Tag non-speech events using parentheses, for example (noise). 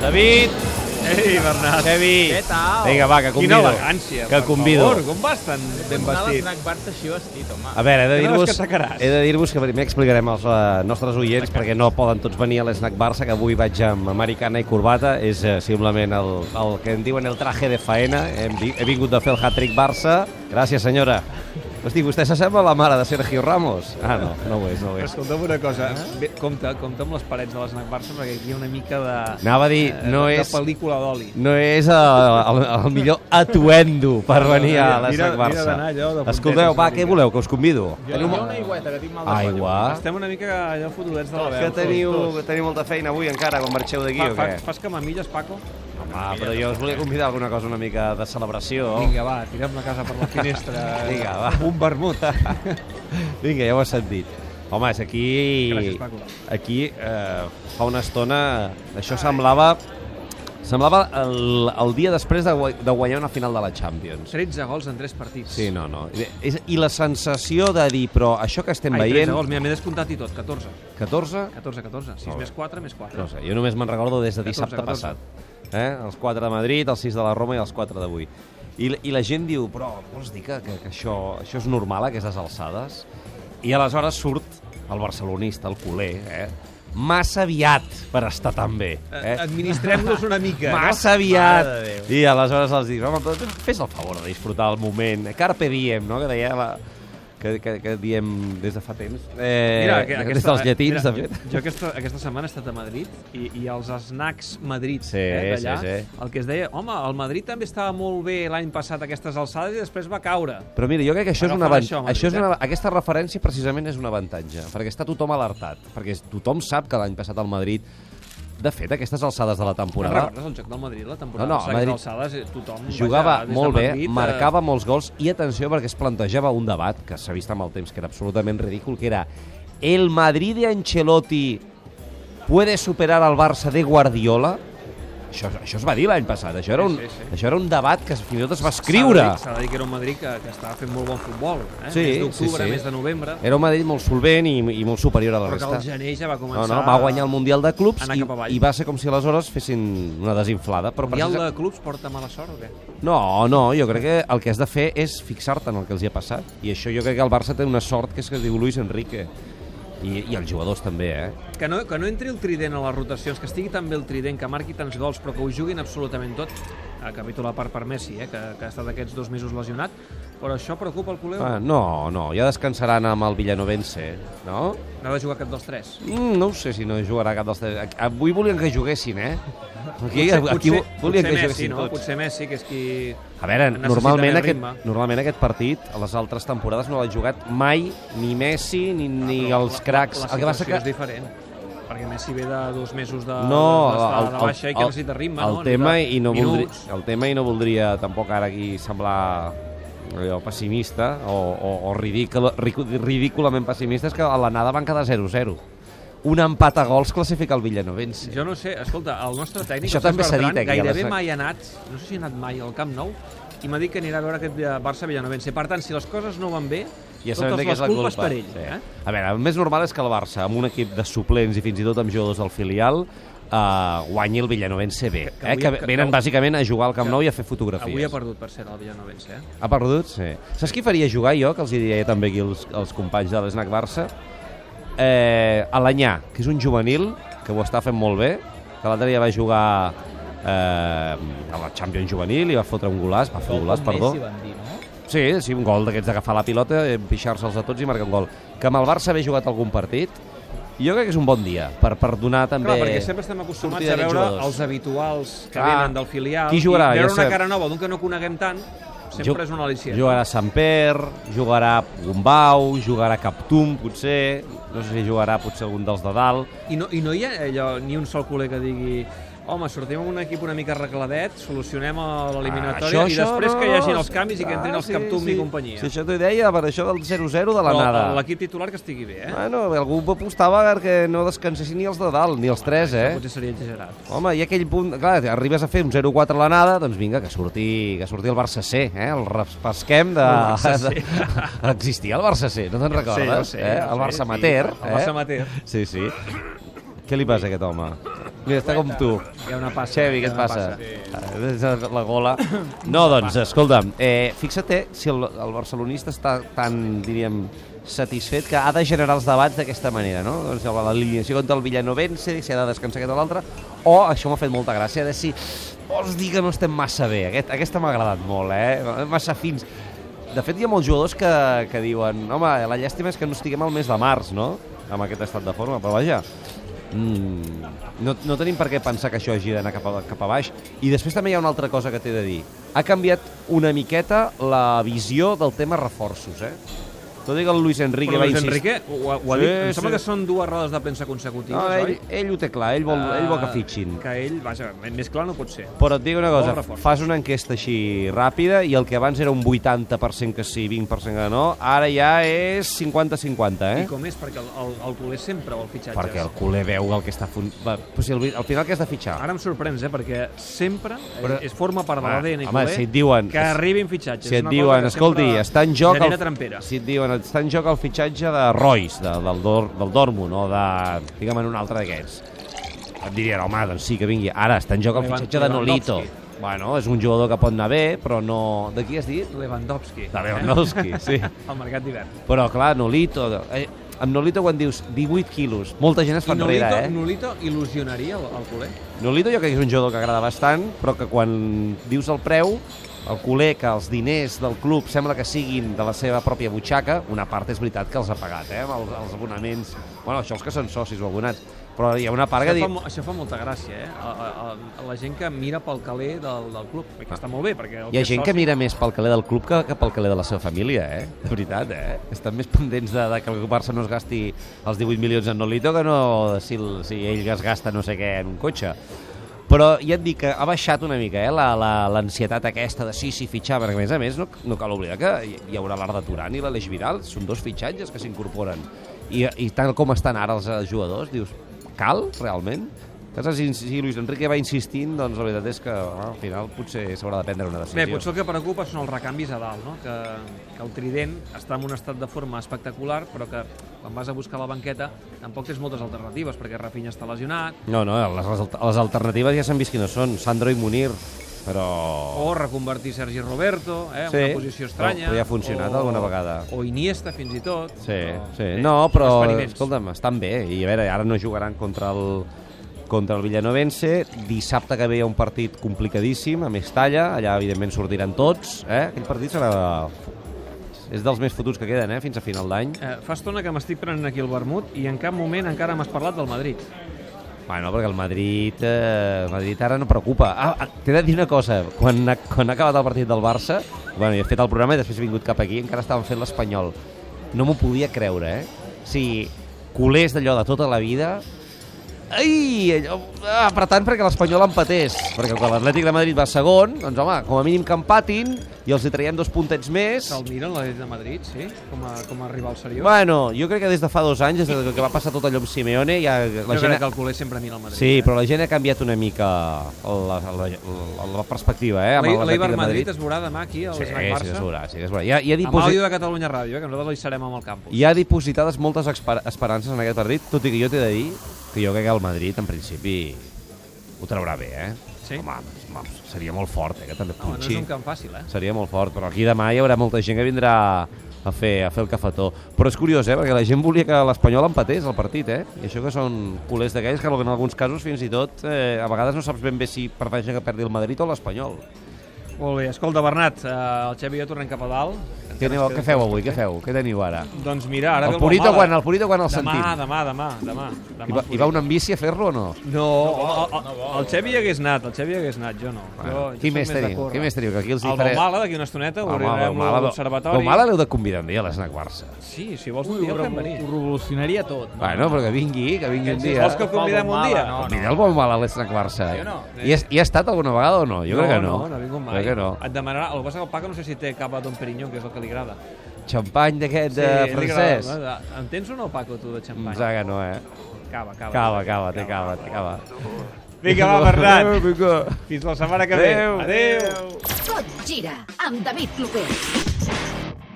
David, Ei, Bernat. Xevi. Què tal? Vinga, va, que Quina convido. elegància, Que per convido. favor. Com vas tan ben Anar a vestit? l'esnac Barça així vestit, home. A veure, he de Que no dir-vos veus que atacaràs? he de dir-vos que primer explicarem als eh, nostres oients perquè no poden tots venir a l'Snack Barça, que avui vaig amb americana i corbata, és eh, simplement el, el que en diuen el traje de faena. Hem, vi- he vingut de fer el hat-trick Barça. Gràcies, senyora. Hosti, vostè s'assembla a la mare de Sergio Ramos? Ah, no, no ho és, no ho és. Escolta'm una cosa, Eh? bé, compte, compte amb les parets de l'esnac Barça perquè aquí hi ha una mica de, Anava a dir, eh, no de és- pel·lícula d'oli. No és eh, el, el millor atuendo per No, no, venir a mira, l'Snack mira Barça. d'anar allò de puntetes Escolteu, una va, què mica. voleu, que us convido? Jo, jo una aigüeta, que tinc mal de coll. Aigua. Estem una mica allò fotudets de la veu. Que tots, teniu, tots. teniu molta feina avui encara, quan marxeu d'aquí Fa, o fa, què? fas camamilles, Paco? Home, però jo us volia convidar a alguna cosa una mica de celebració. Vinga, va, tirem la casa per (laughs) la finestra. Vinga, va. Un vermut. (laughs) Vinga, ja ho has sentit. Home, és aquí... Gràcies, Paco. Aquí, eh, fa una estona, això semblava... Semblava el, el dia després de, guai- de guanyar una final de la Champions. 13 gols en 3 partits. Sí, no, no. I, és, I la sensació de dir, però això que estem Ai, 13 veient... gols, mira, m'he descomptat i tot, 14. 14? 14, 14. 6 Molt bé. més 4, més 4. No sé, jo només me'n recordo des de 14, dissabte 14. passat. Eh? Els 4 de Madrid, els 6 de la Roma i els 4 d'avui. I, la- I la gent diu, però vols dir que, que, que això, això és normal, aquestes alçades? I aleshores surt el barcelonista, el culer, eh? massa aviat per estar tan bé. Eh? Eh? Administrem-nos una mica. Massa Mare de aviat. I aleshores els dic, home, però fes el favor de disfrutar el moment. Carpe diem, no?, que deia la... Que, que, que diem des de fa temps. Eh, Mira, que- que, aquesta- des dels llatins, mira, de fet. Jo, jo aquesta, aquesta setmana he estat a Madrid i, i els snacks Madrid Sí, eh, d'allà, sí, sí. el que es deia, home, el Madrid també estava molt bé l'any passat a aquestes alçades i després va caure. Però mira, jo crec que això és, Agafen una, avant... això, això, Madrid, això és eh? una... Aquesta referència precisament és un avantatge, perquè està tothom alertat, perquè es- tothom sap que l'any passat al Madrid, de fet, aquestes alçades de la Te'n temporada, recordes el joc del Madrid la temporada? No, no, passada, Madrid aquestes alçades, eh, tothom, jugava vaja, des de molt bé, Madrid, eh, marcava molts gols, i atenció perquè es plantejava un debat, que s'ha vist amb el temps, que era absolutament ridícul, que era el Madrid de Ancelotti puede superar al Barça de Guardiola? Això, això es va dir l'any passat, això era, un, Sí, sí, sí. això era un debat que fins i tot es s'ha va de escriure. dir- S'ha de dir que era un Madrid que, que estava fent molt bon futbol, eh? Sí, més d'octubre, sí, sí. més de novembre, Era un Madrid molt solvent i, i molt superior a la però que resta. al gener ja va No, començar... no, va guanyar el Mundial de Clubs Anar i, cap avall. i va ser com si aleshores fessin una desinflada. Però El Mundial precisa- de Clubs porta mala sort o què? No, no, jo crec que el que has de fer és fixar-te en el que els hi ha passat. I això jo crec que el Barça té una sort que és que es diu Luis Enrique. I, i els jugadors també, eh? Que no, que no entri el trident a les rotacions, que estigui tan bé el trident, que marqui tants gols, però que ho juguin absolutament tot. A capítol a part per Messi, eh, que, que ha estat aquests dos mesos lesionat, però això preocupa el Coleu. Ah, Ah. no, no, ja descansaran amb el Villanovense, no? N'ha de jugar aquest dels tres. Mm, no ho sé si no jugarà cap dels tres. Avui volien que (laughs) juguessin, eh? Aquí, potser, volien potser que Messi, juguessin no? tots. Potser Messi, que és qui... A veure, Necessita normalment més aquest, ritme. normalment aquest partit, a les altres temporades, no l'ha jugat mai ni Messi ni, ni els cracs. Ah, La, la el que passa situació que... és diferent, perquè Messi ve de dos mesos de, No, de, de, de, de baixa i que necessita ritme, el no? Tema Necessita i no voldria, minuts. el tema i no voldria tampoc ara aquí semblar allò, pessimista o, o, o ridícul, ricu- ridículament pessimista és que a l'anada van quedar 0-0. Un empat a gols classifica el Villanovense. Jo no sé, escolta, el nostre tècnic, Això el Cesc també s'ha dit eh, Bertran, aquí, a gairebé la sac. mai ha anat, no sé si ha anat mai al Camp Nou, i m'ha dit que anirà a veure aquest Barça-Villanovense. Per tant, si les coses no van bé, Ja sabem totes de les què és la culpes culpa. per ell. Sí. Eh? A veure, el més normal és que el Barça, amb un equip de suplents i fins i tot amb jugadors del filial, eh, guanyi el Villanovense B. Que- que Que, eh, avui- que que- venen que- bàsicament a jugar al Camp que- Nou i a fer fotografies. Avui ha perdut, per cert, el Villanovense. Eh? Ha perdut? Sí. Saps qui faria jugar jo, que els hi diria també aquí els, els companys de l'Snac Barça? Eh, Alanyà, que és un juvenil que ho està fent molt bé, que l'altre dia va jugar eh, a la Champions Juvenil i va fotre un golaç, va fer un golaç, perdó. Messi van dir, no? Sí, sí, un gol d'aquests d'agafar la pilota, eh, pixar-se'ls a tots i marcar un gol. Que amb el Barça haver jugat algun partit, jo crec que és un bon dia per, per donar també... Clar, perquè sempre estem acostumats a sortida d'aquests veure jugadors. els habituals que Clar. venen del filial. Qui jugarà? I Ja veure una sabem. cara nova d'un que no coneguem tant, sempre és una al·licient. Jugarà Samper, jugarà Gombau, jugarà Captum, potser, no sé si jugarà potser algun dels de dalt. I no, I no hi ha allò, ni un sol culer que digui home, sortim amb un equip una mica arregladet, solucionem eh, l'eliminatòria ah, i després que hi hagin els canvis i que entrin els Captum i companyia. Ah, Sí, això t'ho deia, per això del 0-0 de la Però nada. L'equip titular que estigui bé, eh? Bueno, algú apostava perquè no descansessin ni els de dalt, ni els tres, Això eh? Potser seria exagerat. Home, i aquell punt... Clar, arribes a fer un 0-4 a l'anada, doncs vinga, que surti, que surti el Barça C, eh? El repesquem de... El Barça C. de- Existia el Barça C, no te'n recordes? ho sé, eh? ho El sé, Barça eh? sí. Mater. El Barça amateur. Sí, sí. Què li passa a aquest home? Mira, està com tu. Hi ha una passa. Xevi, hi ha què et una passa? passa. Ah, La gola. No, doncs, escolta'm, eh, fixa't si el, el barcelonista està tan, diríem, satisfet que ha de generar els debats d'aquesta manera, no? Doncs la- l'alineació contra el Villanovense, si ha de descansar aquest o l'altre, o, això m'ha fet molta gràcia, de si vols dir que no estem massa bé. Aquest, aquesta m'ha agradat molt, eh? Massa fins. De fet, hi ha molts jugadors que, que diuen home, la llàstima és que no estiguem al mes de març, no?, amb aquest estat de forma, però vaja, Mm, no, no tenim per què pensar que això hagi d'anar cap, a- cap a baix. I després també hi ha una altra cosa que t'he de dir. Ha canviat una miqueta la visió del tema reforços, eh? Tot i que el Luis Enrique Però va Luis insistir... Enrique ho, ha- ho ha Sí, dit. em sembla sí. que són dues rodes de premsa consecutives, No, ell, oi? ell ho té clar, ell vol, ell vol que Ah, fitxin. Que ell, vaja, més clar no pot ser. Però et dic una Vol cosa, reforç. fas una enquesta així ràpida i el que abans era un 80% que sí, 20% que no, ara ja és 50-50, eh? I com és? Perquè el, el, el culer sempre vol fitxatges. Perquè el culer veu el que està... Fun... Va, però si al, al final què has de fitxar? Ara em sorprens, eh? Perquè sempre Però- Ah, Però... es forma part de Home, l'ADN home, culer si et diuen- que arribin fitxatges. Si És et una cosa diuen, que escolti, sempre està en joc... Genera trampera. Si et diuen, està en joc el fitxatge de Royce, de, del, Dor, del Dortmund, o de... Digue'm en un altre d'aquests. Et dirien, home, doncs sí, que vingui. Ara, està en joc el Levan- fitxatge de Nolito. Lewandowski. Bueno, és un jugador que pot anar bé, però no... De qui has dit? Lewandowski. De Lewandowski, sí. (laughs) Al mercat d'hivern. Però, clar, Nolito... Eh, amb Nolito quan dius 18 quilos, molta gent es fa I Nolito, enrere, eh? Nolito il·lusionaria el, el culer? Nolito jo crec que és un jugador que agrada bastant, però que quan dius el preu, el culer que els diners del club sembla que siguin de la seva pròpia butxaca, una part és veritat que els ha pagat, eh, amb els, els abonaments, bueno, això els que són socis o abonats, però hi ha una part que Això fa, diu... mo- això fa molta gràcia, eh? A, a, a, la gent que mira pel caler del, del club, que està molt bé, perquè... El Ah. Hi ha és gent que soci- mira més pel caler del club que, que pel caler de la seva família, eh? De veritat, eh? Estan més pendents de, de que el Barça no es gasti els 18 milions en Nolito que no de si, el- si ell es gasta no sé què en un cotxe. Però ja et dic que ha baixat una mica eh, la- la- l'ansietat la, aquesta de sí, sí, fitxar, perquè a més a més no, no cal oblidar que hi- hi haurà l'Arda Turan i l'Aleix Vidal, són dos fitxatges que s'incorporen. I, I tal com estan ara els eh, jugadors, dius, cal realment? Cases, si, si Luis Enrique va insistint, doncs la veritat és que ah, al final potser s'haurà de prendre una Bé, decisió. potser el que preocupa són els recanvis a dalt, no? que, que el Trident està en un estat de forma espectacular, però que quan vas a buscar la banqueta tampoc tens moltes alternatives, perquè Rafinha està lesionat, No, no, les, les, alter- les alternatives ja s'han vist quines són, Sandro i Munir, però... o reconvertir Sergi Roberto eh, en Sí, una posició estranya. però- però ja ha funcionat alguna vegada. O Iniesta, fins i tot. Sí, però, sí. bé, Eh, No, però, experiments. escolta'm, estan bé. I a veure, ara no jugaran contra el, contra el Villanovense. Dissabte que ve hi ha un partit complicadíssim, a Mestalla. Allà, evidentment, sortiran tots. Eh? Aquell partit serà... És dels més fotuts que queden, eh? Fins a final d'any. Eh, fa estona que m'estic prenent aquí el vermut i en cap moment encara m'has parlat del Madrid. Bueno, perquè el Madrid, eh, el Madrid ara no preocupa. Ah, ah, t'he de dir una cosa, quan ha, quan ha acabat el partit del Barça, bueno, jo he fet el programa i després he vingut cap aquí, encara estàvem fent l'Espanyol. No m'ho podia creure, eh? O sigui, culers d'allò de tota la vida, Ai, allò, ah, apretant perquè l'Espanyol empatés. Perquè quan l'Atlètic de Madrid va segon, doncs home, com a mínim que empatin i els hi traiem dos puntets més. Se'l miren l'Atlètic de Madrid, sí? Com a, com a rival seriós. Bueno, jo crec que des de fa dos anys, des de que va passar tot allò amb Simeone, ja la jo gent... crec que el culer sempre mira el Madrid. Sí, eh? però la gent ha canviat una mica la, la, la, la perspectiva, eh? amb L'Ei- l'Atlètic L'Eibar de Madrid es veurà demà aquí al Sí, sí, Snack que Barça. es veurà, sí, que es veurà. Hi ha, hi ha, Amb àudio diposi... de Catalunya Ràdio, eh, que nosaltres hi serem amb el campus. hi ha dipositades moltes esper- esperances en aquest partit, tot i que jo t'he de dir que jo crec que el Madrid, en principi, ho traurà bé, eh? Sí? Home, home, seria molt fort, eh, que te'l No, no és punxi. un camp fàcil, eh? Seria molt fort, però aquí demà hi haurà molta gent que vindrà a fer, a fer el cafetó. Però és curiós, eh? Perquè la gent volia que l'Espanyol empatés el partit, eh? I això que són culers d'aquells que en alguns casos fins i tot eh, a vegades no saps ben bé si prefereixen que perdi el Madrid o l'Espanyol. Molt bé, escolta, Bernat, eh, el Xevi i jo tornem cap a dalt. Encara Què, aneu, ens què queden feu coses. avui? Què feu? Què teniu ara? Doncs mira, ara El ve Purito Gualmada. quan, el Purito quan el demà, sentim. demà, demà, demà, demà. I va, I va un amb bici a fer-lo o no? No, el, el, el Xevi hi hagués anat, el Xevi hi hagués anat, jo no. jo, jo Qui sóc més de teniu? córrer. Qui més teniu? Que aquí els El diferents... Baumala, d'aquí una estoneta, obrirem l'observatori. Baumala l'heu de convidar un dia a l'esnac Barça. Sí, si vols Ui, un ho, dia ho fem revo- venir. ho revolucionaria tot. No? Bueno, però que vingui, que vingui un Si dia. vols que el convidem un dia. No, no. Mira el bon mal a l'Esnac Barça. Jo no. Hi, ha, hi ha estat alguna vegada o no? Jo crec que no. No, no ha vingut mai. Crec que no. Ah. Et demanarà... El que passa que el Paco no sé si té cap a Don Perignon, que és el que li agrada. Xampany d'aquest de ell li agrada, francès. no? En tens o no, Paco, tu, de Em xampany? sembla que no, eh? Cava, cava. Cava, cava, té cava, té cava. Vinga, (laughs) va, Bernat. Adéu, vinga. Fins la setmana que ve. Adéu. Adéu. Tot gira amb David Clopé.